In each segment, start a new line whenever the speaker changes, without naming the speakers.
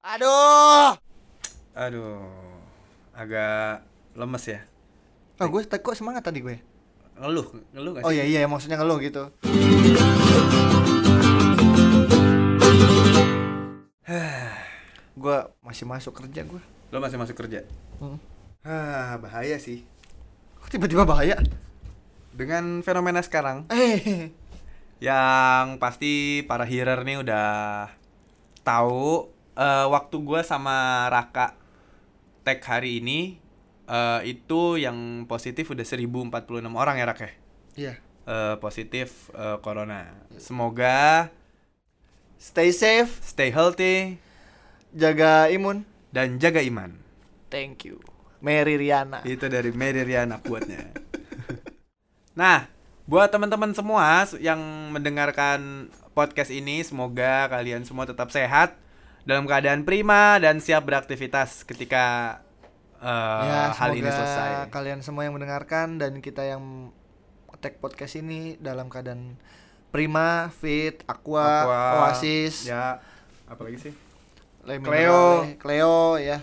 Aduh.
Aduh, agak lemes ya.
Oh, gue te- kok semangat tadi gue.
Ngeluh, ngeluh gak sih?
Oh iya iya maksudnya ngeluh gitu. gue masih masuk kerja gue.
Lo masih masuk kerja?
Hmm.
Hah, bahaya sih.
Kok tiba-tiba bahaya?
Dengan fenomena sekarang,
Eh.
yang pasti para hearer nih udah tahu eh, waktu gua sama Raka tag hari ini eh, itu yang positif udah 1046 orang ya Raka. ya?
Iya.
Eh, positif eh, corona. Semoga
Stay safe,
stay healthy
jaga imun.
dan jaga iman.
Thank you. Mary Riana.
Itu dari Mary Riana quote-nya. nah, buat teman-teman semua yang mendengarkan podcast ini, semoga kalian semua tetap sehat dalam keadaan prima dan siap beraktivitas ketika eh,
ya,
hal ini
semoga
selesai.
Kalian semua yang mendengarkan dan kita yang tag podcast ini dalam keadaan prima, fit, aqua,
Aqua,
oasis,
Ya, apalagi sih?
Le
Cleo.
Minerale, Cleo ya.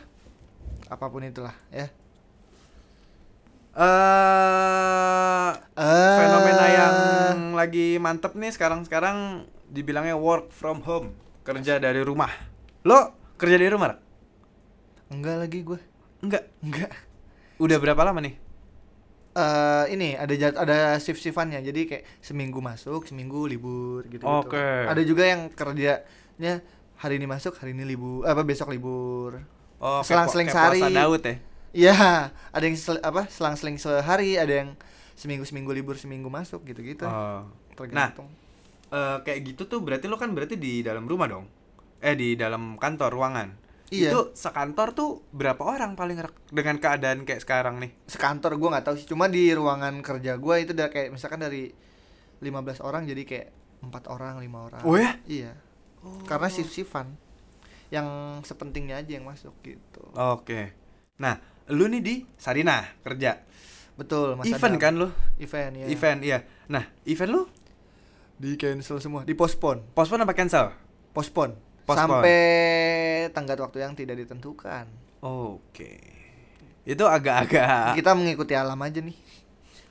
Apapun itulah ya.
Eh
Eh,
fenomena yang lagi mantep nih sekarang-sekarang dibilangnya work from home, kerja dari rumah. Lo kerja dari rumah? Rak?
enggak lagi gue.
Enggak.
Enggak.
Udah berapa lama nih?
Eh ini ada jad, ada shift shiftannya jadi kayak seminggu masuk seminggu libur gitu gitu
Oke.
ada juga yang kerjanya hari ini masuk hari ini libur apa besok libur
Oh, kayak
Selang-seling
pu- kayak puasa
sehari.
Daud ya.
Iya, ada yang sel- apa selang-seling sehari, ada yang seminggu-seminggu libur, seminggu masuk gitu-gitu.
Oh. Nah,
Tergantung.
eh, kayak gitu tuh berarti lo kan berarti di dalam rumah dong. Eh di dalam kantor ruangan.
Iya.
Itu sekantor tuh berapa orang paling rek- dengan keadaan kayak sekarang nih?
Sekantor gua nggak tahu sih, cuma di ruangan kerja gua itu udah kayak misalkan dari 15 orang jadi kayak empat orang, lima orang.
Oh ya?
Iya. Karena shift-shiftan. Yang sepentingnya aja yang masuk gitu.
Oke. Nah, lu nih di Sarina kerja.
Betul, Mas
event
Adam.
kan lu?
Event ya.
Event iya. Nah, event lu
Di cancel semua, dipospon,
postpone apa cancel?
postpone.
Postpone.
Sampai tenggat waktu yang tidak ditentukan.
Oke. Itu agak-agak
kita mengikuti alam aja nih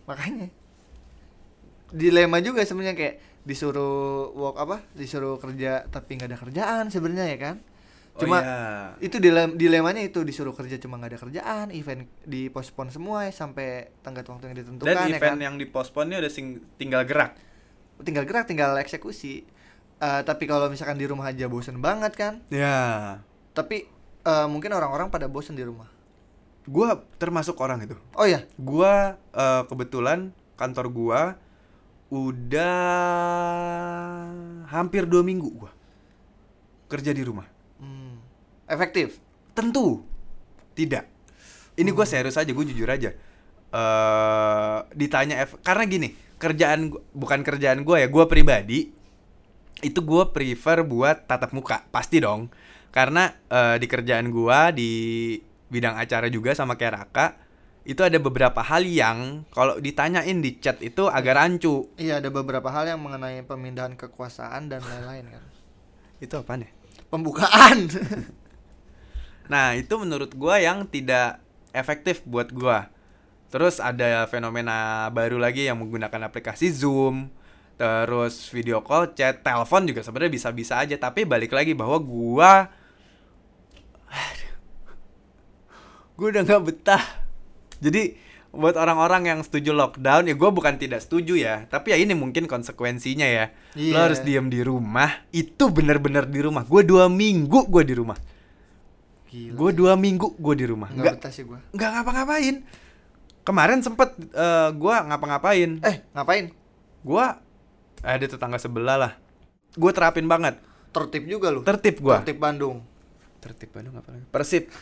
makanya dilema juga sebenarnya kayak disuruh work apa disuruh kerja tapi nggak ada kerjaan sebenarnya ya kan
Oh,
cuma
iya.
itu dilem dilemanya itu disuruh kerja cuma nggak ada kerjaan event dipospon semua ya, sampai tenggat waktu yang ditentukan
dan
ya kan
event yang dipospone nya udah sing- tinggal gerak.
tinggal gerak tinggal eksekusi Eh, tapi kalau misalkan di rumah aja bosen banget kan
Ya.
tapi eh, mungkin orang-orang pada bosen di rumah
Gua termasuk orang itu.
oh ya
gua eh, kebetulan kantor gua udah hampir dua minggu gua kerja di rumah
hmm, efektif
tentu tidak ini gua serius aja gua jujur aja eh ditanya F karena gini kerjaan gua- bukan kerjaan gua ya gua pribadi itu gua prefer buat tatap muka pasti dong karena eh, di kerjaan gua di bidang acara juga sama kayak Raka itu ada beberapa hal yang kalau ditanyain di chat itu agak rancu
Iya ada beberapa hal yang mengenai pemindahan kekuasaan dan lain-lain kan.
itu ya? apa nih
Pembukaan.
Nah, itu menurut gua yang tidak efektif buat gua. Terus ada fenomena baru lagi yang menggunakan aplikasi Zoom, terus video call, chat, telepon juga sebenarnya bisa-bisa aja, tapi balik lagi bahwa gua Aduh. gua udah nggak betah. Jadi buat orang-orang yang setuju lockdown ya gua bukan tidak setuju ya, tapi ya ini mungkin konsekuensinya ya. Lo
Iya.
harus diem di rumah, itu bener-bener di rumah. Gua dua minggu gua di rumah.
Gila.
Gue dua minggu gue di rumah.
Nggak
Nggak
betah sih gue.
nggak ngapa-ngapain. Kemarin sempet eh, gua ngapa-ngapain.
Eh ngapain?
Gua ada tetangga sebelah lah. Gue terapin banget.
Tertib juga lu.
Tertib gua
Tertib Bandung.
Tertib Bandung apa lagi? Persib.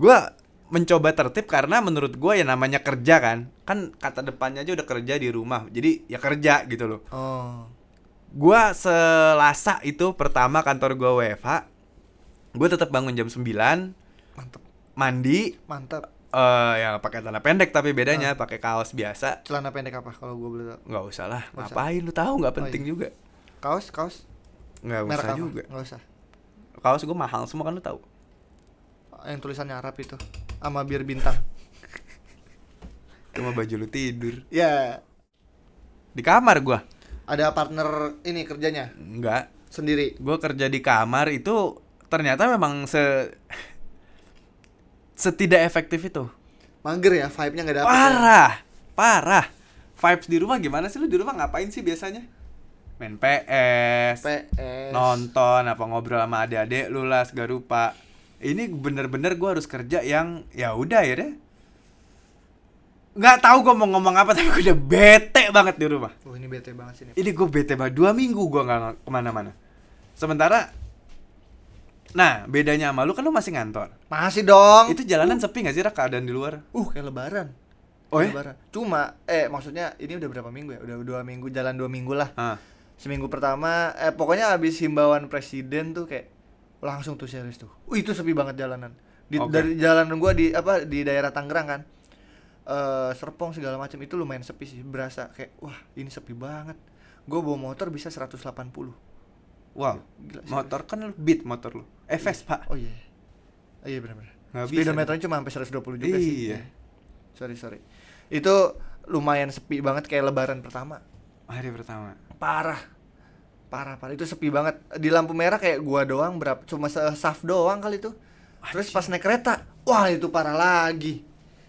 gua mencoba tertib karena menurut gua ya namanya kerja kan. Kan kata depannya aja udah kerja di rumah. Jadi ya kerja gitu loh.
Oh.
Gua selasa itu pertama kantor gua WFH. Gue tetap bangun jam 9
Mantep.
mandi,
Mantap.
eh ya pakai celana pendek tapi bedanya
Ah.
pakai kaos biasa
Celana pendek apa kalau gue beli? tau?
nggak usah lah
Nggak usah.
ngapain lu tahu nggak penting
iya.
juga
Kaos kaos.
nggak usah
apa?
juga
Nggak usah.
kaos gue mahal semua kan lu tahu
yang tulisannya Arab itu sama bir bintang
cuma baju lu tidur
ya
di kamar gua
ada partner ini kerjanya
enggak
sendiri
gua kerja di kamar itu ternyata memang se setidak efektif itu
mager ya vibe-nya nggak dapet ya.
parah parah vibes di rumah gimana sih lu di rumah ngapain sih biasanya main PS,
PS
nonton apa ngobrol sama adik-adik lu lah segala rupa ini bener-bener gua harus kerja yang ya udah ya deh nggak tahu gua mau ngomong apa tapi gua udah bete banget di rumah
Wah ini bete banget sih ini
ini gue bete banget dua minggu gue nggak ng- kemana-mana sementara nah bedanya sama lu kan lu masih ngantor
masih dong
itu jalanan sepi nggak sih Ra, keadaan di luar
uh kayak lebaran
Oh
Kayak
ya?
lebaran cuma eh maksudnya ini udah berapa minggu ya udah dua minggu jalan dua minggu lah
ah
seminggu pertama eh pokoknya abis himbauan presiden tuh kayak langsung tuh serius tuh Wih, itu sepi banget jalanan di,
Oke.
dari jalan gua di apa di daerah Tangerang kan eh Serpong segala macam itu lumayan sepi sih berasa kayak wah ini sepi banget gue bawa motor bisa 180
wow
Gila, serius.
motor kan lu beat motor lu eh Vespa
oh iya Oh iya benar-benar
Nggak bisa,
speedometernya cuma sampai 120 juga sih
Iya.
sorry sorry itu lumayan sepi banget kayak lebaran pertama
hari pertama
parah parah parah itu sepi banget di lampu merah kayak gua doang berapa cuma saf doang kali itu terus pas naik kereta wah itu parah lagi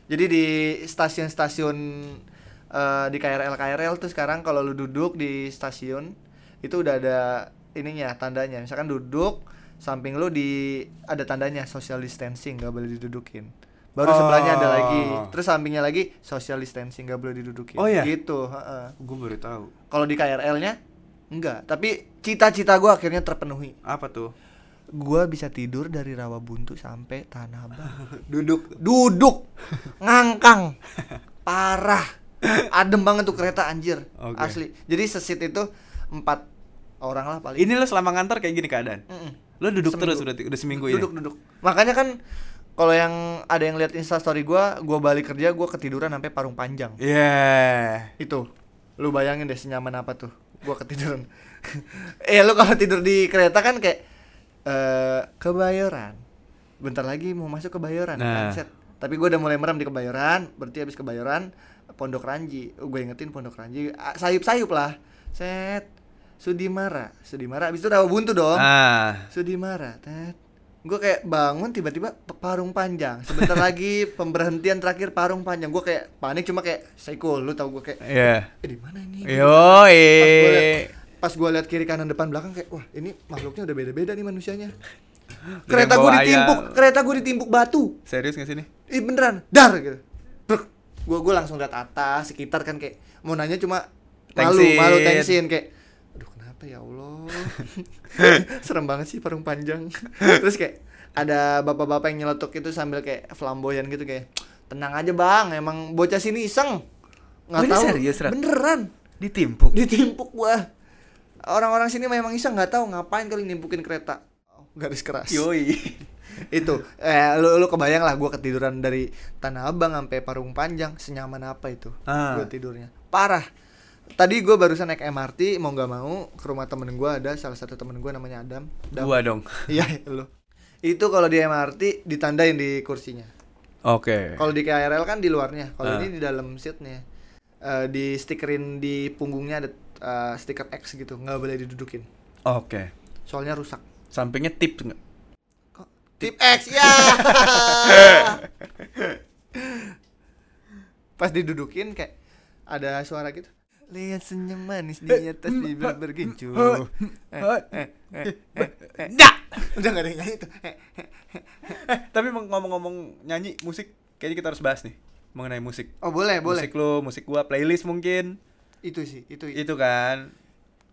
jadi di stasiun-stasiun eh, di KRL KRL tuh sekarang kalau lu duduk di stasiun itu udah ada ininya tandanya misalkan duduk samping lu di ada tandanya social distancing nggak boleh didudukin baru
Oh.
sebelahnya ada lagi terus sampingnya lagi social distancing nggak boleh didudukin
Oh, iya?
gitu heeh.
gue baru tahu
Kalau di KRL-nya enggak, tapi cita-cita gua akhirnya terpenuhi.
apa tuh
Gua bisa tidur dari Rawabuntu sampai Tanah Abang.
duduk
Duduk ngangkang. Parah. Adem banget tuh kereta anjir.
Oke.
Asli. Jadi sesit itu empat orang lah paling.
ini lu selama ngantor kayak gini keadaan
Mm-mm.
lu duduk
Seminggu.
terus berarti udah seminggu ya?
duduk,
ini
duduk. Makanya kan kalau yang ada yang lihat Insta story gua, gua balik kerja gua ketiduran sampai parung panjang.
Iya. yeah
itu lu bayangin deh senyaman apa tuh gua ketiduran eh lu kalau tidur di kereta kan kayak eh kebayoran bentar lagi mau masuk kebayoran
Nah.
Set. tapi gua udah mulai merem di kebayoran berarti habis kebayoran pondok ranji gue ingetin pondok ranji ah, sayup-sayup lah set sudimara sudimara abis itu rawa buntu dong
ah
Sudimara, tet. Gue kayak bangun tiba-tiba pe- parung panjang. Sebentar lagi pemberhentian terakhir parung panjang. Gue kayak panik cuma kayak Seiko, lu tau gue kayak
ya
eh, di mana ini? Pas gue liat,
yoi
pas gua liat kiri kanan depan belakang kayak wah ini makhluknya udah beda-beda nih manusianya.
yang
kereta gue
bawa
ditimpuk,
ayam.
kereta gue ditimpuk batu.
serius nggak sih nih
Ih beneran, dar gitu. Bruk. Gue gue langsung liat atas sekitar kan kayak mau nanya cuma malu
Thanksin.
malu tensin kayak aduh kenapa ya Allah serem banget sih parung panjang terus kayak ada bapak-bapak yang nyeletuk itu sambil kayak flamboyan gitu kayak tenang aja bang emang bocah sini iseng nggak
Oh, ini
tahu
serius, Rat?
beneran
ditimpuk
ditimpuk gua orang-orang sini memang iseng nggak tahu ngapain kali nimpukin kereta Oh, garis keras
yoi
itu eh, lu lu kebayang lah gue ketiduran dari tanah abang sampai parung panjang senyaman apa itu
Ah.
gue tidurnya parah tadi gue barusan naik MRT mau nggak mau ke rumah temen gue ada salah satu temen gue namanya Adam Dam.
Dua dong.
iya lu itu kalau di MRT ditandain di kursinya
Oke.
kalau di KRL kan di luarnya kalau
Ah.
ini di dalam seatnya Eh, di stikerin di punggungnya ada eh, stiker X gitu nggak boleh didudukin
Oke.
soalnya rusak
Sampingnya tip nggak?
Kok? Tip X ya. Pas didudukin kayak ada suara gitu. Lihat senyum manis di atas
Eh,
bibir bergincu.
Nggak.
Udah gak ada yang nyanyi tuh. eh.
Eh, tapi mau ngomong-ngomong nyanyi musik, kayaknya kita harus bahas nih mengenai musik.
Oh boleh boleh.
Musik lu, musik gua, playlist mungkin.
Itu sih itu.
Itu kan.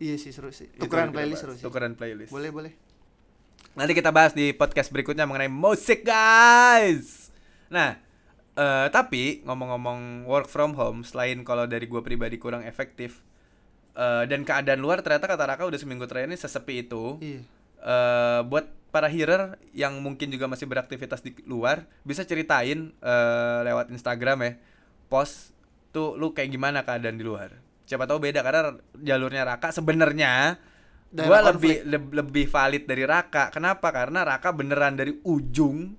Iya sih seru sih.
Itu
Tukeran
kita
playlist
bahas.
seru sih.
Tukeran playlist.
Boleh boleh.
Nanti kita bahas di podcast berikutnya mengenai musik, guys. Nah, eh tapi ngomong-ngomong work from home, selain kalau dari gua pribadi kurang efektif, eh dan keadaan luar ternyata kata Raka udah seminggu terakhir ini sesepi itu.
Iya.
eh buat para hearer yang mungkin juga masih beraktivitas di luar bisa ceritain eh, lewat Instagram ya post tuh lu kayak gimana keadaan di luar siapa tahu beda karena jalurnya Raka sebenarnya
Daerah
Gua
konflik.
lebih leb- lebih valid dari Raka. Kenapa? Karena Raka beneran dari ujung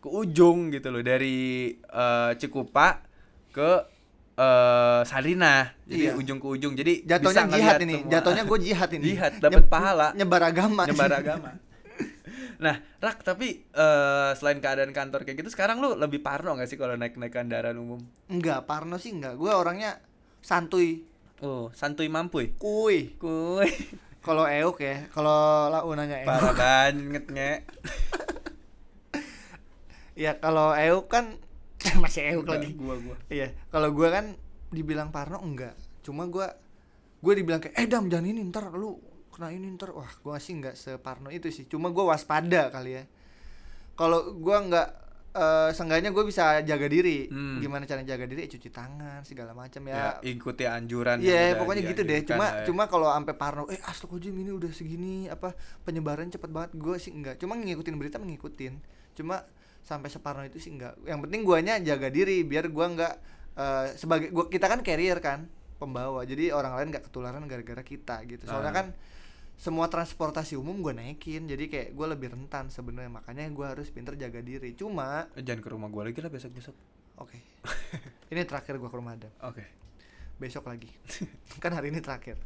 ke ujung gitu loh, dari eh, Cikupa ke eh, Sarina. Jadi
Iya.
ujung ke ujung. Jadi
Jatuhnya
bisa
jihad
ngeliat
ini.
semua.
Jatuhnya gue jihad ini.
Jihad, dapet
Nyeb-
pahala.
Nyebar agama.
nyebar agama. Nah, Rak, tapi eh, selain keadaan kantor kayak gitu, sekarang lu lebih parno gak sih kalau naik-naik kendaraan umum?
enggak, Parno sih enggak. Gue orangnya santuy.
Oh, santuy mampuy.
Kuy.
Kuy.
Kalau euk ya, kalau lau nanya euk.
Parah banget, nge.
Ya kalau euk kan masih euk
Enggak,
lagi.
Gua, gua.
Iya, kalau gua kan dibilang Parno enggak. Cuma gua gua dibilang kayak eh Dam jangan ini ntar lu kena ini ntar. Wah, gua sih enggak separno itu sih. Cuma gua waspada kali ya. Kalau gua enggak eh seenggaknya gue bisa jaga diri
Hmm.
gimana cara jaga diri Ya, cuci tangan segala macam
Ya,
ya
ikuti anjuran. yang
Iya
Kan udah
pokoknya gitu deh.
dianjurkan
Cuma
lah ya.
cuma kalau sampai Parno, eh astagfirullah ini udah segini apa penyebaran cepet banget gue sih enggak. Cuma ngikutin berita mengikutin. Cuma sampai separno itu sih enggak. Yang penting guanya jaga diri biar gua enggak eh, sebagai gua kita kan carrier kan pembawa. Jadi orang lain enggak ketularan gara-gara kita gitu. Soalnya
Ah.
kan semua transportasi umum gua naikin. Jadi kayak gua lebih rentan sebenarnya. Makanya gua harus pinter jaga diri. Cuma
Eh, Jangan ke rumah gua lagi lah besok-besok.
oke. ini terakhir gua ke rumah Adam
Oke.
besok lagi kan hari ini terakhir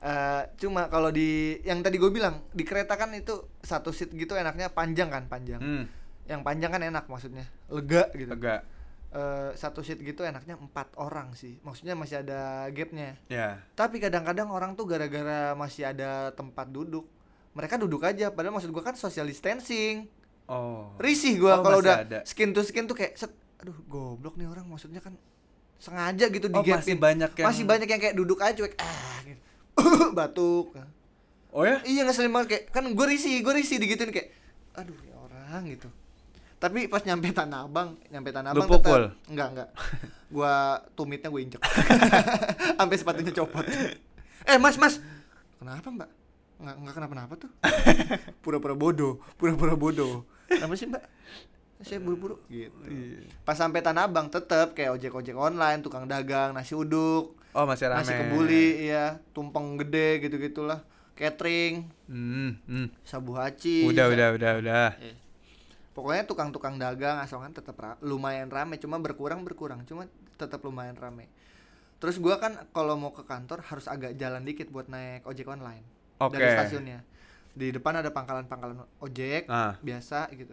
Eh, cuma kalau di yang tadi gue bilang di kereta kan itu satu seat gitu enaknya panjang kan panjang
Hmm,
yang panjang kan enak maksudnya lega gitu
agak
Eh, satu seat gitu enaknya empat orang sih maksudnya masih ada gapnya
ya.
tapi kadang-kadang orang tuh gara-gara masih ada tempat duduk mereka duduk aja padahal maksud gue kan social distancing
Oh.
risih gua
Oh,
kalau
masih
udah
ada.
skin to skin tuh kayak set aduh goblok nih orang maksudnya kan sengaja gitu
Oh,
digapin
masih banyak yang-
masih banyak yang kayak duduk aja cuek ah gitu. batuk
Oh ya?
iya ngeselin banget kayak kan gue risih gue risih digituin kayak aduh ya orang gitu tapi pas nyampe tanah abang nyampe tanah
Lu
abang
pukul?
tetap enggak enggak gue tumitnya gue injek sampai sepatunya copot eh mas mas kenapa mbak nggak nggak kenapa-napa tuh pura-pura bodoh pura-pura bodoh kenapa sih mbak saya buru-buru gitu pas sampai tanah abang tetap kayak ojek ojek online tukang dagang nasi uduk
Oh, masih rame.
nasi kebuli iya tumpeng gede gitu gitulah catering
Hmm, hmm.
sabu haci
Udah, udah, udah, udah.
pokoknya tukang-tukang dagang asongan tetap ra- lumayan rame cuma berkurang berkurang cuma tetap lumayan rame terus gua kan kalau mau ke kantor harus agak jalan dikit buat naik ojek online dari
Oke.
stasiunnya di depan ada pangkalan-pangkalan ojek
Ah.
biasa gitu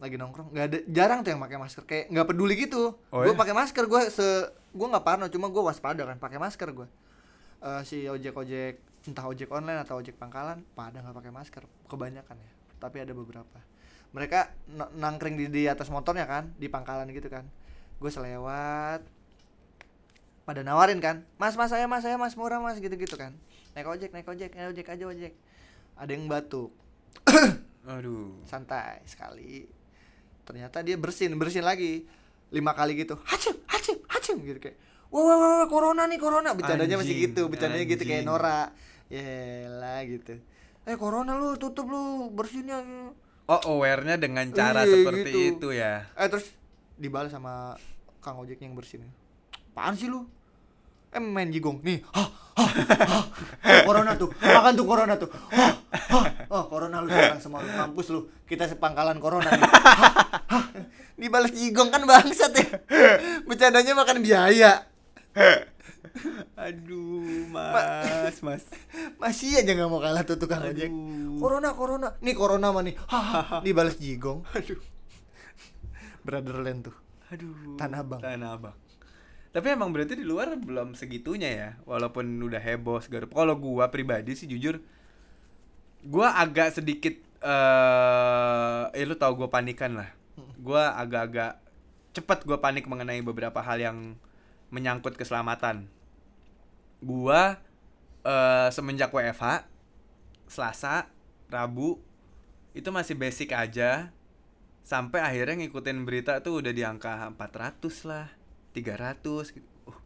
lagi nongkrong nggak ada jarang tuh yang pakai masker kayak nggak peduli gitu
Oh
gue
ya?
pakai masker gue se gue nggak parno cuma gue waspada kan pakai masker gue Eh si ojek ojek entah ojek online atau ojek pangkalan pada nggak pakai masker kebanyakan ya tapi ada beberapa mereka n- nangkring di, di atas motornya kan di pangkalan gitu kan gue selewat pada nawarin kan mas mas saya mas saya mas murah mas gitu gitu kan naik ojek naik ojek naik ojek aja ojek ada yang batuk
Aduh.
santai sekali ternyata dia bersin bersin lagi lima kali gitu hacem hacem hacem gitu kayak wah wah wah wah, corona nih corona bercandanya masih
Anjing,
gitu bercandanya gitu kayak
anjing.
Nora Yelah gitu eh corona lu tutup lu ya." bersinnya
Oh, aware-nya dengan cara
Iya,
seperti
gitu.
itu ya.
eh terus dibalas sama kang ojek yang bersin apaan sih lu eh main jigong nih hah hah hah Eh, corona tuh makan tuh corona tuh hah hah oh corona lu sekarang semua lu kampus lu kita sepangkalan corona nih hah hah dibalas jigong kan bangsat ya bercandanya makan biaya
Aduh, Mas, Mas.
masih aja nggak mau kalah tuh tukang ojek
Aduh.
corona corona nih corona mah nih hah hah, hah dibalas jigong aduh brotherland tuh
Aduh.
Tanah Abang.
Tanah Abang. Tapi emang berarti di luar belum segitunya ya, walaupun udah heboh segala. Kalau gua pribadi sih jujur gua agak sedikit eh eh lu tau gua panikan lah.
Hmm.
Gua agak-agak cepat gua panik mengenai beberapa hal yang menyangkut keselamatan. Gua eh semenjak WFH Selasa, Rabu itu masih basic aja sampai akhirnya ngikutin berita tuh udah di angka 400 lah, 300 gitu. Uh,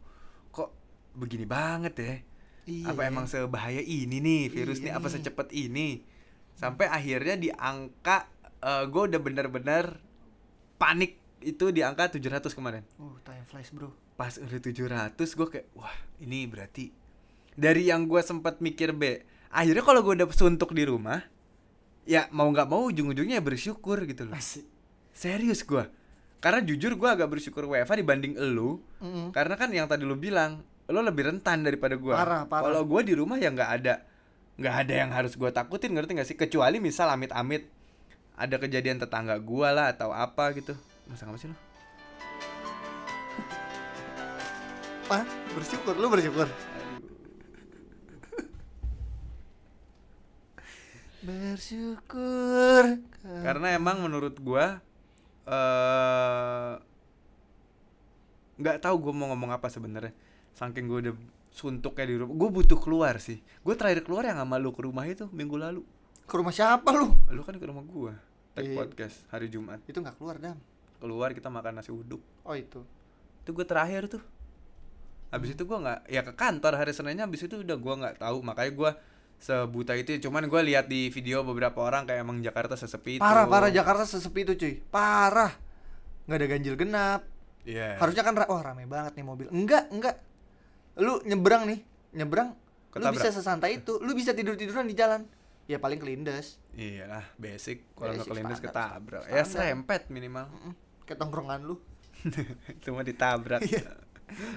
kok begini banget ya?
Iya
apa
ya.
emang sebahaya ini nih virus
Iya
nih apa
nih.
secepat ini? Sampai akhirnya di angka gue udah bener-bener panik itu di angka 700 kemarin.
uh time flies bro
Pas udah 700 gue kayak wah, ini berarti dari yang gue sempat mikir B akhirnya kalau gue dapet suntuk di rumah ya mau nggak mau ujung-ujungnya bersyukur gitu loh
Asik.
serius gue karena jujur gue agak bersyukur WFA dibanding elu
Mm-mm.
karena kan yang tadi lu bilang lo lebih rentan daripada gue
Parah, parah.
kalau gue di rumah ya nggak ada nggak ada yang harus gue takutin ngerti nggak sih kecuali misal amit-amit ada kejadian tetangga gue lah atau apa gitu masa nggak sih lo
Apa? Bersyukur, lu bersyukur. bersyukur. Ya.
karena emang menurut gua eh nggak tahu gua mau ngomong apa sebenarnya saking gua udah suntuknya di rumah gua butuh keluar sih gua terakhir keluar yang sama lu ke rumah itu minggu lalu
Ke rumah siapa lu?
lu kan ke rumah gua tag
Iya.
podcast hari jumat
Itu nggak keluar, Dam.
keluar kita makan nasi uduk
Oh, itu.
itu gua terakhir tuh habis itu gua nggak ya ke kantor hari seninnya habis itu udah gua nggak tahu makanya gua sebuta itu ya. cuman gua lihat di video beberapa orang kayak emang Jakarta sesepi itu
Parah, parah Jakarta sesepi itu, cuy. Parah. Nggak ada ganjil genap.
Iya.
Harusnya kan ra- wah rame banget nih mobil. Enggak, enggak. Lu nyebrang nih, nyebrang. Lu
Ketabrak.
bisa sesantai itu, lu bisa tidur-tiduran di jalan. Ya paling kelindes.
Iyalah basic kalau nggak
Basic,
kelindes
standar,
ketabrak
standar.
ya serempet minimal
Mm-mm. Kayak tongkrongan lu.
cuma ditabrak
ya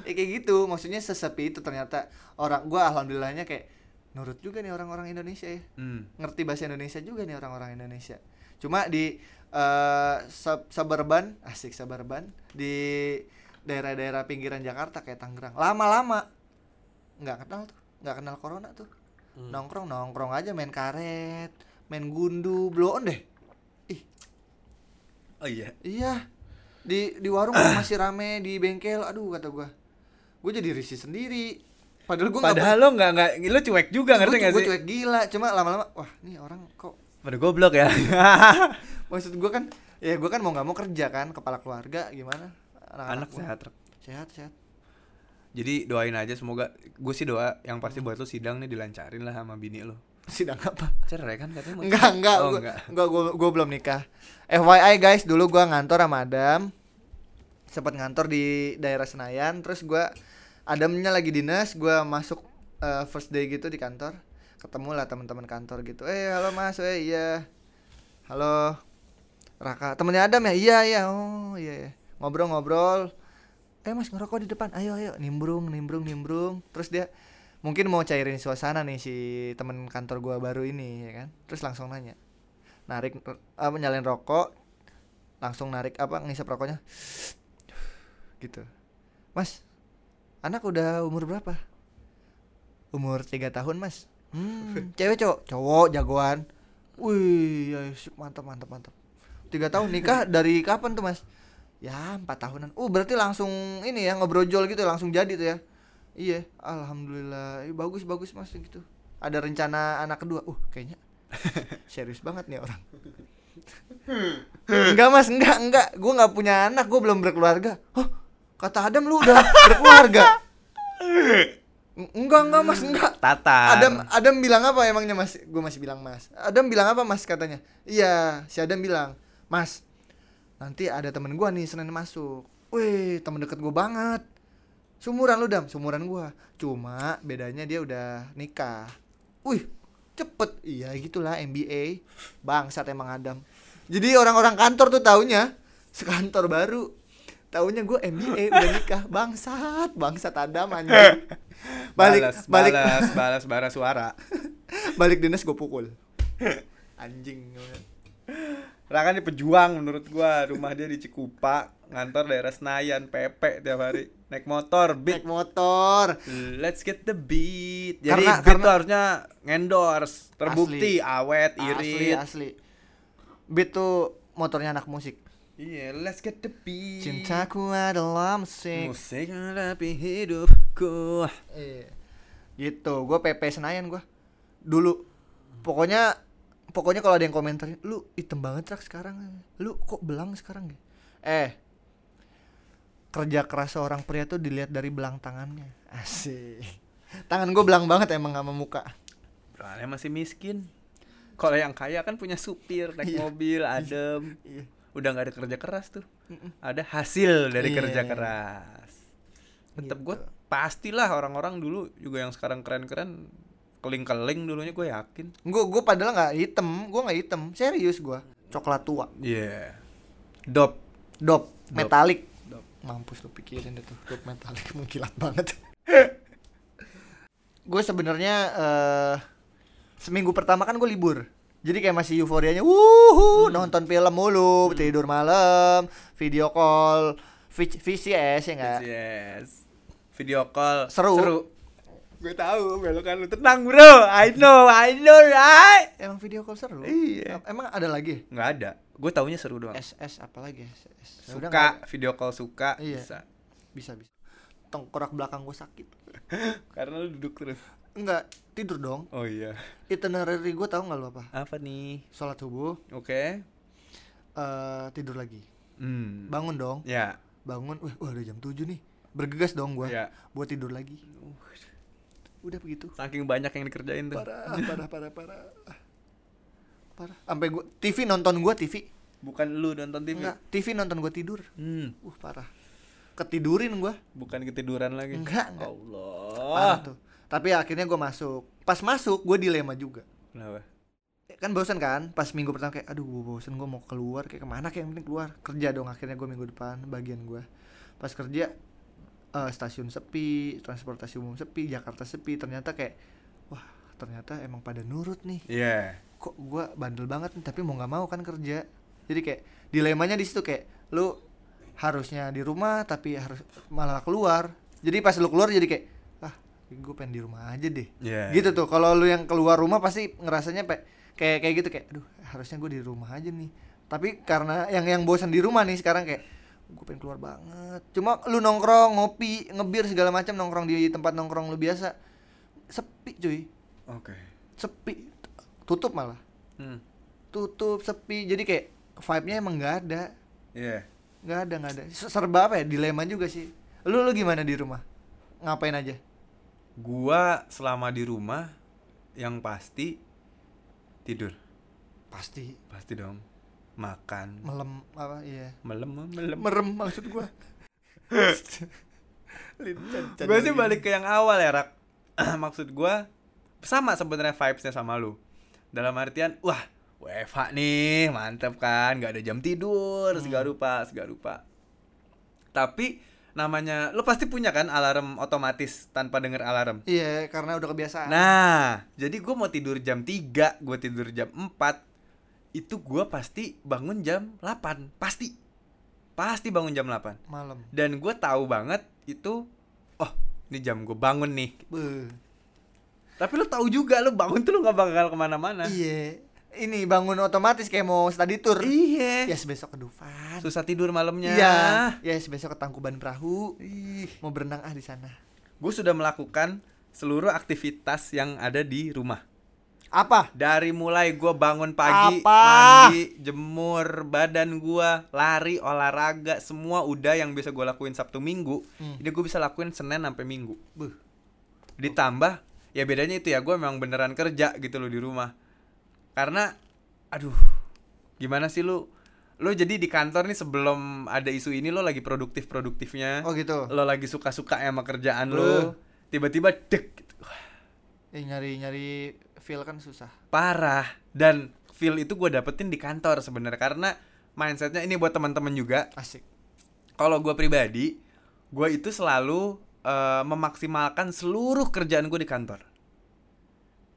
kayak gitu maksudnya sesepi itu ternyata orang gua alhamdulillahnya kayak nurut juga nih orang-orang Indonesia ya
hmm.
ngerti bahasa Indonesia juga nih orang-orang Indonesia cuma di eh, sub- suburban asik suburban di daerah-daerah pinggiran Jakarta kayak Tangerang lama-lama nggak kenal tuh nggak kenal corona tuh nongkrong nongkrong aja main karet main gundu blow on deh ih
oh iya
Iya. Di di warung masih rame, di bengkel. Aduh kata gua. Gua jadi risih sendiri. Padahal gua nggak
padahal lo nggak nggak lo cuek juga
gua
ngerti
cu-
nggak
gua
sih
cuek gila, cuma lama-lama wah, nih orang kok
pada goblok ya
maksud gua kan ya gua kan mau nggak mau kerja kan, kepala keluarga gimana?
anak
gua.
sehat Rek.
Sehat, sehat.
jadi doain aja semoga gue sih doa yang pasti buat lo sidang nih dilancarin lah sama bini lo
Sidang apa?
cerai kan katanya mau
Enggak,
cerai.
enggak.
oh,
gua,
enggak
Enggak, gua, gua belum nikah. FYI guys, dulu gua ngantor sama Adam. Sempat ngantor di daerah Senayan, terus gua Adamnya lagi dinas, gua masuk eh, first day gitu di kantor. Ketemu lah teman-teman kantor gitu. Eh, halo Mas, eh iya. Halo. Raka, temennya Adam ya? Iya, iya. Oh, iya, iya. Ngobrol-ngobrol. Eh, Mas ngerokok di depan. Ayo, ayo. Nimbrung, nimbrung, nimbrung. Terus dia mungkin mau cairin suasana nih si temen kantor gua baru ini, ya kan? Terus langsung nanya. Narik apa nyalain rokok. Langsung narik apa ngisap rokoknya. Gitu. Mas, anak udah umur berapa? Umur 3 tahun, Mas. Hmm, cewek cowok, cowok jagoan. Wih, ya, sip, mantap, mantap, mantap. Tiga tahun nikah dari kapan tuh mas? Ya empat tahunan. Oh berarti langsung ini ya ngebrojol gitu langsung jadi tuh ya? Iya, alhamdulillah. Ih, bagus bagus mas gitu. Ada rencana anak kedua. Uh kayaknya serius banget nih orang. enggak mas, enggak enggak. Gue nggak punya anak, gue belum berkeluarga. Hah? Kata Adam lu udah berkeluarga? Eng- Enggak enggak mas enggak.
tatar
Adam Adam bilang apa emangnya Mas? Gue masih bilang Mas. Adam bilang apa Mas katanya? Iya, si Adam bilang, "Mas, nanti ada temen gua nih Senin masuk." Wih, temen deket gue banget. Sumuran lu Dam, sumuran gua. Cuma bedanya dia udah nikah. Wih, cepet. Iya gitulah MBA. Bangsat emang Adam. Jadi orang-orang kantor tuh taunya sekantor baru. Taunya gue MBA udah nikah. Bangsat, bangsat Adam anjing. Balik,
balas,
balik
balas balas balas suara
balik dinas gue pukul anjing
Raka ini kan pejuang menurut gua rumah dia di Cikupa ngantor daerah Senayan Pepe tiap hari naik motor beat
naik motor
Let's get the beat. Jadi
Karena-
beat
karena-
tuh harusnya endorse, terbukti awet,
asli
irit.
asli beat tuh motornya anak musik
Iya, let's get the beat.
cintaku adalah musik
musik tapi hidupku.
Iya. gitu gue PP Senayan gue dulu pokoknya pokoknya kalau ada yang komentarin lu item banget rak sekarang lu kok belang sekarang ya eh kerja keras seorang pria tuh dilihat dari belang tangannya asik tangan gue belang banget emang sama muka
Soalnya masih miskin. Kalau yang kaya kan punya supir, naik
Iya.
mobil, adem.
Iya.
Udah nggak ada kerja keras tuh. Ada hasil dari
Iya.
kerja keras. Tetep
Gitu.
gue pastilah orang-orang dulu juga yang sekarang keren-keren keling-keling dulunya gue yakin.
Gue gue padahal nggak hitam, gue nggak hitam, serius gue. Coklat tua,
Iya. Dop.
dop, metalik.
Dop.
Mampus lu pikirin itu, dop metalik mengkilat banget. gue sebenarnya eh seminggu pertama kan gue libur. Jadi kayak masih euforianya, wuhu, nonton film mulu, tidur malam, video call, V- VCS ya nggak?
Yes. Video call.
Seru.
Gue tahu belokan lu tenang bro. I know, I know right.
Emang video call seru?
Iya.
Em- Emang ada lagi?
Nggak ada. Gue taunya seru doang.
SS apalagi SS. Udah
suka
nggak-
video call suka
Iya.
bisa.
bisa bisa. Tengkorak belakang gue sakit.
Karena lu duduk terus.
Enggak, tidur dong.
Oh iya.
Itinerary gue tahu nggak lu apa?
Apa nih?
Sholat subuh,
Oke.
eh tidur lagi.
Hmm.
Bangun dong.
Ya.
Bangun. Wah, wah udah jam 7 nih. Bergegas dong gua.
Iya.
Buat tidur lagi. Udah begitu.
Saking banyak yang dikerjain tuh.
Parah, parah, parah, parah. Ah. Parah. Sampai gua TV nonton gua TV.
Bukan lu nonton TV.
Enggak, TV nonton gua tidur.
Hmm.
Uh, parah. Ketidurin gua.
Bukan ketiduran lagi.
Enggak, enggak. Parah
Allah.
tuh. Tapi akhirnya gua masuk. Pas masuk gua dilema juga.
Kenapa?
kan bosen kan pas minggu pertama kayak aduh gua bosen gue mau keluar kayak kemana kayak yang penting keluar kerja dong akhirnya gue minggu depan bagian gue pas kerja eh, stasiun sepi transportasi umum sepi Jakarta sepi ternyata kayak wah ternyata emang pada nurut nih
Iya.
kok gua bandel banget nih tapi mau nggak mau kan kerja jadi kayak dilemanya di situ kayak lu harusnya di rumah tapi harus malah keluar jadi pas lu keluar jadi kayak ah gue pengen di rumah aja deh
Iya.
gitu tuh kalau lu yang keluar rumah pasti ngerasanya pe- kayak kayak gitu kayak aduh harusnya gue di rumah aja nih tapi karena yang yang bosan di rumah nih sekarang kayak gue pengen keluar banget cuma lu nongkrong ngopi ngebir segala macam nongkrong di tempat nongkrong lu biasa sepi cuy
Oke.
sepi tutup malah
Hmm.
tutup sepi jadi kayak vibe-nya emang nggak ada
Iya.
nggak ada nggak ada serba apa ya dilema juga sih lu lu gimana di rumah ngapain aja
Gua selama di rumah yang pasti tidur.
pasti
Pasti dong. Makan.
melem apa iya
Melem, melem.
merem maksud gua
Gue sih balik ke yang awal ya, Rak. Maksud gua sama sebenarnya vibes-nya sama lu. Dalam artian, wah, WFH nih, mantep kan, nggak ada jam tidur, segala rupa, segala rupa. Tapi namanya, lu pasti punya kan alarm otomatis tanpa denger alarm.
iya karena udah kebiasaan
Nah, jadi gue mau tidur jam 3, gue tidur jam 4 Itu gue pasti bangun jam 8, pasti Pasti bangun jam 8
malam
Dan gue tahu banget itu Oh, ini jam gue bangun nih
Beuh.
Tapi lo tahu juga, lo bangun tuh lo gak bakal kemana-mana
iya ini bangun otomatis kayak mau study tour
Iya
yes besok ke Dufan
Susah tidur malamnya
iya yes besok ke Tangkuban Perahu
Ih.
mau berenang ah di sana
Gue sudah melakukan seluruh aktivitas yang ada di rumah
apa
Dari mulai gue bangun pagi,
Apa?
mandi, jemur badan gue, lari, olahraga, semua udah yang bisa gue lakuin Sabtu Minggu.
Hmm.
Ini gue bisa lakuin Senin sampai Minggu.
Beuh.
Ditambah, ya bedanya itu ya gue memang beneran kerja gitu loh di rumah. Karena, aduh, gimana sih lu? Lu jadi di kantor nih sebelum ada isu ini lo lagi produktif-produktifnya.
oh gitu
Lo lagi suka-suka ya sama
Eh.
kerjaan lo. Tiba-tiba dek,
Eh, nyari nyari feel kan susah
parah dan feel itu gue dapetin di kantor sebenarnya karena mindsetnya ini buat teman-teman juga
asik
kalau gue pribadi gue itu selalu eh, memaksimalkan seluruh kerjaan gue di kantor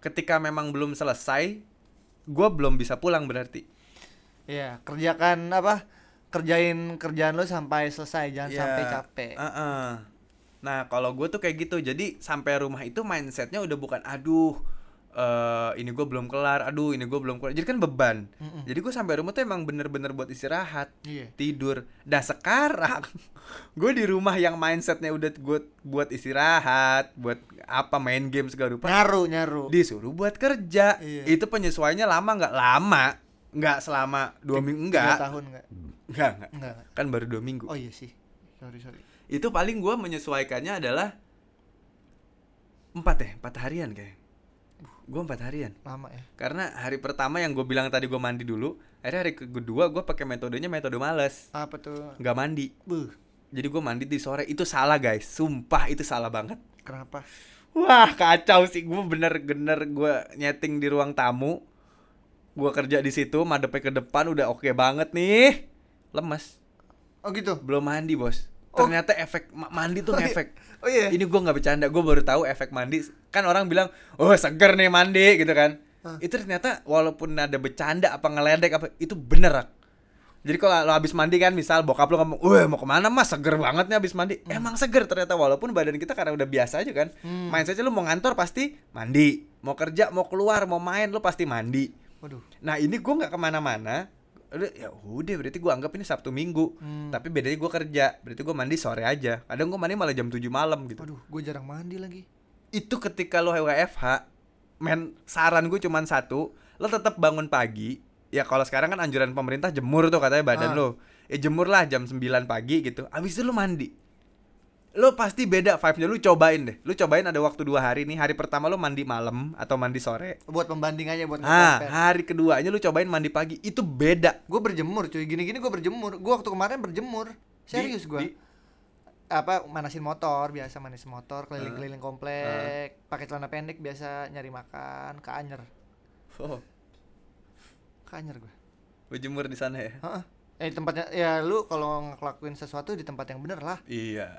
ketika memang belum selesai gue belum bisa pulang berarti
Iya, kerjakan apa? Kerjain kerjaan lo sampai selesai, jangan
Ya,
sampai capek.
uh-uh. Nah, kalau gue tuh kayak gitu. Jadi sampai rumah itu mindsetnya udah bukan aduh eh ini gue belum kelar, aduh ini gue belum kelar. Jadi kan beban.
Mm-mm.
Jadi gue sampai rumah tuh emang bener-bener buat istirahat,
Iya.
tidur. Nah sekarang gue di rumah yang mindsetnya udah gue buat istirahat, buat apa main game segala rupa.
Nyaru, nyaru.
Disuruh buat kerja.
Iya.
Itu penyesuaiannya lama nggak? Lama, nggak selama dua
Tiga
minggu enggak.
tahun enggak?
Enggak, enggak.
Enggak. enggak.
Kan baru dua minggu
Oh iya sih. Sorry, sorry.
itu paling gua menyesuaikannya adalah empat ya empat harian kayak gue empat harian
Lama ya.
karena hari pertama yang gue bilang tadi gue mandi dulu akhirnya hari kedua gue pakai metodenya metode males
Apa tuh?
nggak mandi
Buh,
jadi gue mandi di sore itu salah guys sumpah itu salah banget
kenapa?
Wah kacau sih gue bener-bener gue nyeting di ruang tamu Gue kerja di situ madepnya ke depan udah oke banget nih Lemes
Oh gitu.
Belum mandi bos
Oh.
Ternyata efek ma- mandi tuh
Oh iya.
ngefek
Oh iya.
Ini gue nggak bercanda gue baru tahu efek mandi Kan orang bilang oh seger nih mandi gitu kan
Hah.
Itu ternyata walaupun ada bercanda apa ngeledek apa itu bener Rak. jadi kalau lo habis mandi kan misal bokap lo ngomong, "Wah, mau kemana mas? Seger banget nih habis mandi."
Hmm.
Emang seger ternyata walaupun badan kita karena udah biasa aja kan. Main saja lo mau ngantor pasti mandi, mau kerja, mau keluar, mau main lo pasti mandi.
Waduh.
Nah ini gue nggak kemana-mana Udah, ya udah berarti gue anggap ini Sabtu Minggu
Hmm.
tapi bedanya gue kerja berarti gue mandi sore aja kadang gue mandi malah jam 7 malam gitu
Waduh, gue jarang mandi lagi.
itu ketika lo WFH men saran gue cuman satu lo tetap bangun pagi ya kalau sekarang kan anjuran pemerintah jemur tuh katanya badan
Ah.
lo ya jemurlah jam 9 pagi gitu abis itu lo mandi lo pasti beda vibe-nya lu cobain deh lu cobain ada waktu dua hari nih hari pertama lo mandi malam atau mandi sore
Buat pembanding aja buat
ah hari keduanya lu cobain mandi pagi itu beda
Gue berjemur cuy, gini-gini gue berjemur. Gue waktu kemarin berjemur. Serius
Di-
gue.
di-
Apa manasin motor, biasa manasin motor
Ah.
keliling-keliling komplek, pakai celana pendek biasa nyari makan, ke anyer.
Oh,
Ke anyer gue.
lu jemur di sana ya?
Heeh. Eh tempatnya ya lu kalau ngelakuin sesuatu di tempat yang bener lah.
Iya,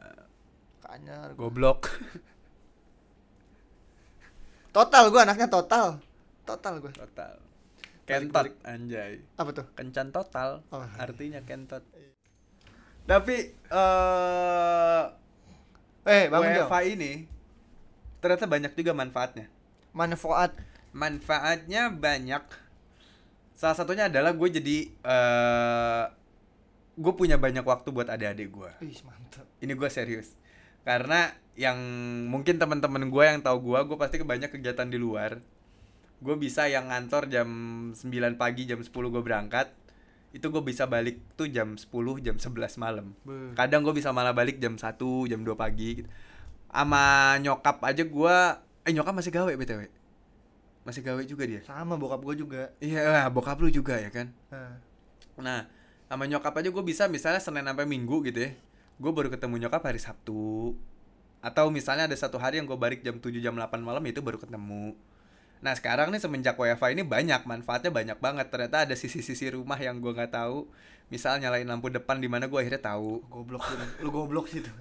Ke anyer. gua.
goblok.
Total gue anaknya total. Total gue.
Total. Kentot anjay.
Apa tuh?
Kencan total
Oh. Iya.
artinya kentot. Tapi eh
Eh, bangun Jal.
WFA ini ternyata banyak juga manfaatnya.
Manfaat.
Manfaatnya banyak. Salah satunya adalah gue jadi eh gue punya banyak waktu buat adik-adik gue.
Ih, mantap.
ini gue serius karena yang mungkin teman-teman gue yang tahu gue gue pasti banyak kegiatan di luar gue bisa yang ngantor jam 9 pagi jam 10 gue berangkat itu gue bisa balik tuh jam 10 jam 11 malam
Beuh.
kadang gue bisa malah balik jam 1 jam 2 pagi gitu sama nyokap aja gue eh nyokap masih gawe btw masih gawe juga dia
Sama bokap gue juga.
iya bokap lu juga ya kan
Nah.
Nah, sama nyokap aja gue bisa misalnya Senin sampai Minggu gitu ya. Gue baru ketemu nyokap hari Sabtu. Atau misalnya ada satu hari yang gue balik jam 7 jam 8 malam ya itu baru ketemu. Nah sekarang nih semenjak WFA ini banyak manfaatnya banyak banget ternyata ada sisi-sisi rumah yang gue nggak tahu misal nyalain lampu depan di mana gue akhirnya tahu
goblok lu, lu goblok sih tuh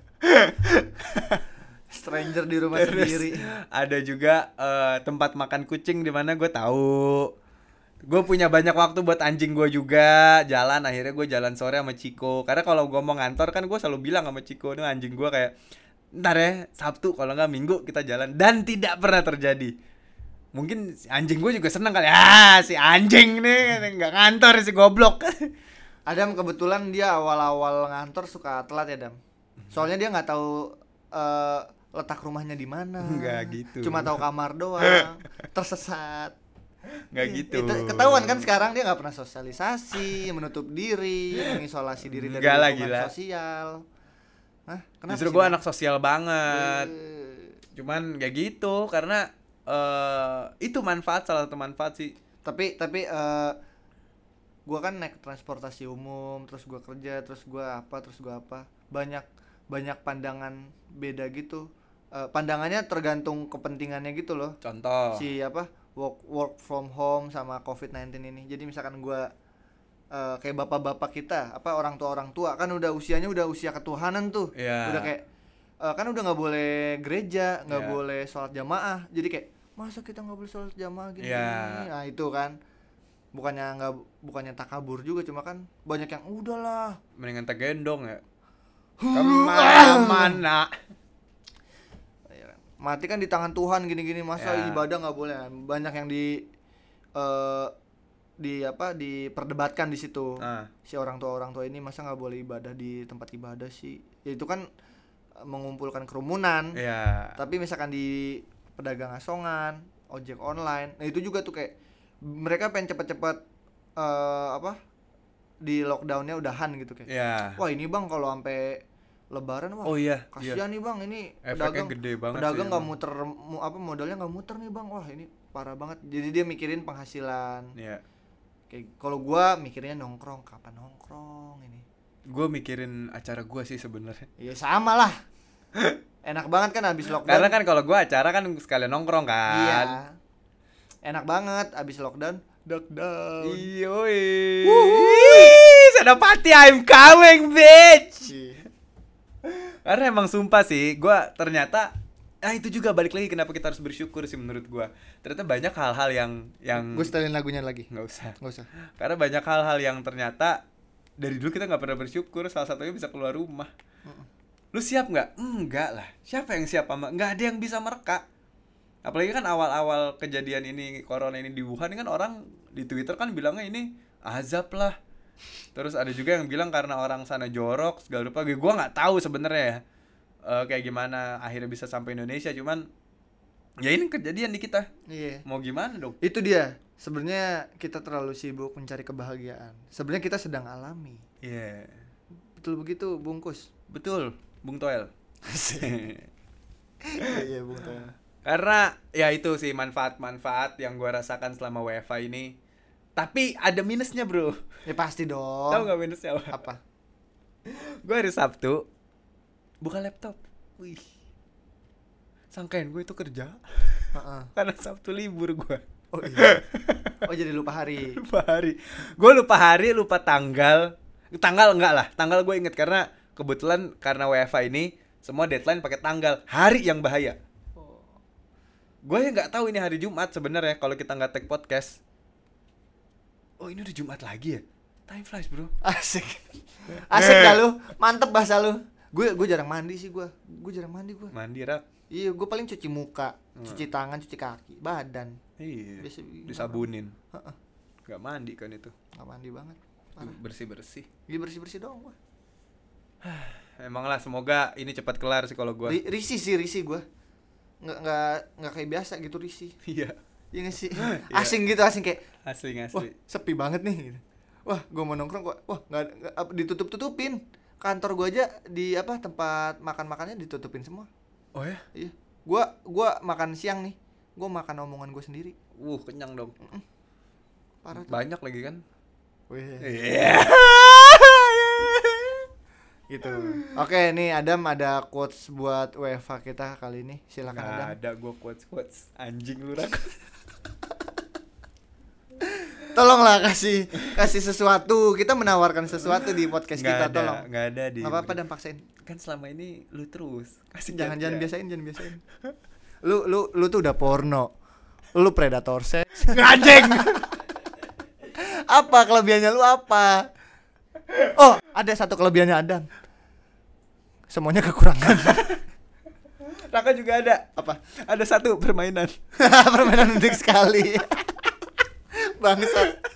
stranger di rumah
Terus
sendiri
ada juga eh, tempat makan kucing di mana gue tahu gue punya banyak waktu buat anjing gue juga jalan akhirnya gue jalan sore sama Ciko karena kalau gue mau ngantor kan gue selalu bilang sama Ciko nih anjing gue kayak ntar ya Sabtu kalau nggak Minggu kita jalan dan tidak pernah terjadi mungkin si anjing gue juga seneng kali ah si anjing nih nggak ngantor si goblok
Adam kebetulan dia awal-awal ngantor suka telat ya Adam
Mhm.
soalnya dia nggak tahu eh, letak rumahnya di mana
Nggak gitu.
cuma tahu kamar doang tersesat
nggak
Iya,
gitu
itu ketahuan kan sekarang dia nggak pernah sosialisasi menutup diri mengisolasi diri dari
Nggak lah,
lingkungan
gila.
sosial Hah? kenapa
justru
sih,
gue
Dam?
anak sosial banget
Eh,
cuman ya gitu karena eh itu manfaat salah satu manfaat sih
tapi tapi eh gue kan naik transportasi umum terus gua kerja terus gua apa terus gua apa banyak banyak pandangan beda gitu Eh, pandangannya tergantung kepentingannya gitu loh
contoh
si apa work work from home sama covid 19 ini jadi misalkan gua eh, kayak bapak-bapak kita apa orang tua orang tua kan udah usianya udah usia ketuhanan tuh
Iya.
udah kayak eh, kan udah nggak boleh gereja nggak
Iya.
boleh sholat jamaah jadi kayak masa kita nggak boleh sholat jamaah gini,
Iya.
gini?" nah itu kan bukannya nggak bukannya takabur juga cuma kan banyak yang udahlah
mendingan tegendong ya kemana-mana
Ya kan? mati kan di tangan Tuhan gini-gini masa
Ya.
ibadah nggak boleh Nah, banyak yang di eh, di apa diperdebatkan di situ
Ah.
si orang tua orang tua ini masa nggak boleh ibadah di tempat ibadah sih ya itu kan eh, mengumpulkan kerumunan
ya
tapi misalkan di pedagang asongan ojek online nah itu juga tuh kayak mereka pengen cepet-cepet eh, apa di lockdownnya udahan gitu kayak
ya
wah ini bang kalau sampai lebaran wah
oh iya iya
kasihan nih bang ini
Efeknya gede banget
pedagang
sih
nggak
emang.
muter mu- apa modalnya nggak muter nih bang wah ini parah banget jadi dia mikirin penghasilan
ya
kayak kalau gua mikirnya nongkrong kapan nongkrong ini
gue mikirin acara gue sih sebenarnya
ya sama lah Iya, Enak banget kan abis lockdown.
Karena kan kalau gua acara kan sekalian nongkrong
Iya.
kan.
Enak banget abis lockdown. Duck down.
Iya. Senopati I'm coming bitch.
Iya.
Karena emang sumpah sih, gua ternyata ah itu juga balik lagi kenapa kita harus bersyukur sih menurut gua. Ternyata banyak hal-hal yang yang
Gue setelin lagunya lagi.
nggak usah.
Gak usah.
Karena banyak hal-hal yang ternyata dari dulu kita nggak pernah bersyukur, salah satunya bisa keluar rumah. Lu siap nggak? Enggak lah. Siapa yang siap sama? Nggak ada yang bisa mereka. Apalagi kan awal-awal kejadian ini corona ini di Wuhan kan orang di Twitter kan bilangnya ini azab lah. Terus ada juga yang bilang karena orang sana jorok segala rupa. Gue nggak tahu sebenarnya ya. eh, kayak gimana akhirnya bisa sampai Indonesia cuman ya ini kejadian di kita.
Iya.
Mau gimana dong?
Itu dia. Sebenarnya kita terlalu sibuk mencari kebahagiaan. Sebenarnya kita sedang alami.
Iya.
Betul begitu, bungkus.
Betul, Bung Toel.
Iya, iya, Bung
Karena ya itu sih manfaat-manfaat yang gua rasakan selama WFA ini. Tapi ada minusnya, Bro.
Ya pasti dong.
Tahu nggak minusnya apa?
Apa?
Gua hari Sabtu buka laptop. Wih. Sangkain gue itu kerja
Heeh.
karena Sabtu libur gua.
Oh iya. Oh jadi lupa hari.
Lupa hari. Gue lupa hari, lupa tanggal. Tanggal enggak lah. Tanggal gue inget karena kebetulan karena WFA ini semua deadline pakai tanggal. Hari yang bahaya.
Oh.
Gue yang ya nggak tahu ini hari Jumat sebenarnya kalau kita nggak take podcast. Oh ini udah Jumat lagi ya? Time flies bro.
Asik. Asik
Eh.
dah lu. Mantep bahasa lu. Gue gue jarang mandi sih gue. Gue jarang mandi gue.
Mandi rak.
Iya, gue paling cuci muka, cuci tangan, cuci kaki, badan.
Hmm. Iya.
Biasa- gitu.
Disabunin.
Heeh.
Gak mandi kan itu.
Gak mandi banget.
Bersih bersih.
Gue bersih-bersih doang gue.
Emang lah semoga ini cepat kelar sih kalau gue.
Ri- Risih sih, risih gue. Nggak, nggak, nggak kayak biasa gitu risih.
Iya.
Iya nggak sih? Asing gitu, asing kayak,
Asli
wah
asli.
sepi banget nih. gitu. Wah, gue mau nongkrong kok. Wah, nggak, ada- nggak- apa, ditutup-tutupin. Kantor gue aja di apa tempat makan-makannya ditutupin semua.
Oh ya?
Iya. Gua gua makan siang nih. Gua makan omongan gue sendiri.
Uh kenyang dong.
Parah. tuh.
Banyak lagi kan?
Weh.
Iya.
Gitu. Oke, nih Adam ada quotes buat WFA kita kali ini. Silakan Adam.
Nggak ada gue quotes quotes anjing lu rak.
Tolonglah kasih kasih sesuatu. Kita menawarkan sesuatu di podcast
Nggak
kita
ada,
tolong.
nggak ada di.
Nggak apa-apa dan paksain.
Kan selama ini lu terus. Kasih
Jangan jangan
jatah.
biasain, jangan biasain. Lu lu lu tuh udah porno. Lu predator sex.
Anjing.
Apa kelebihannya lu apa? Oh, ada satu kelebihannya Adam. Semuanya kekurangan.
Raka juga ada.
apa?
Ada satu permainan.
Permainan unik sekali. Bangsat.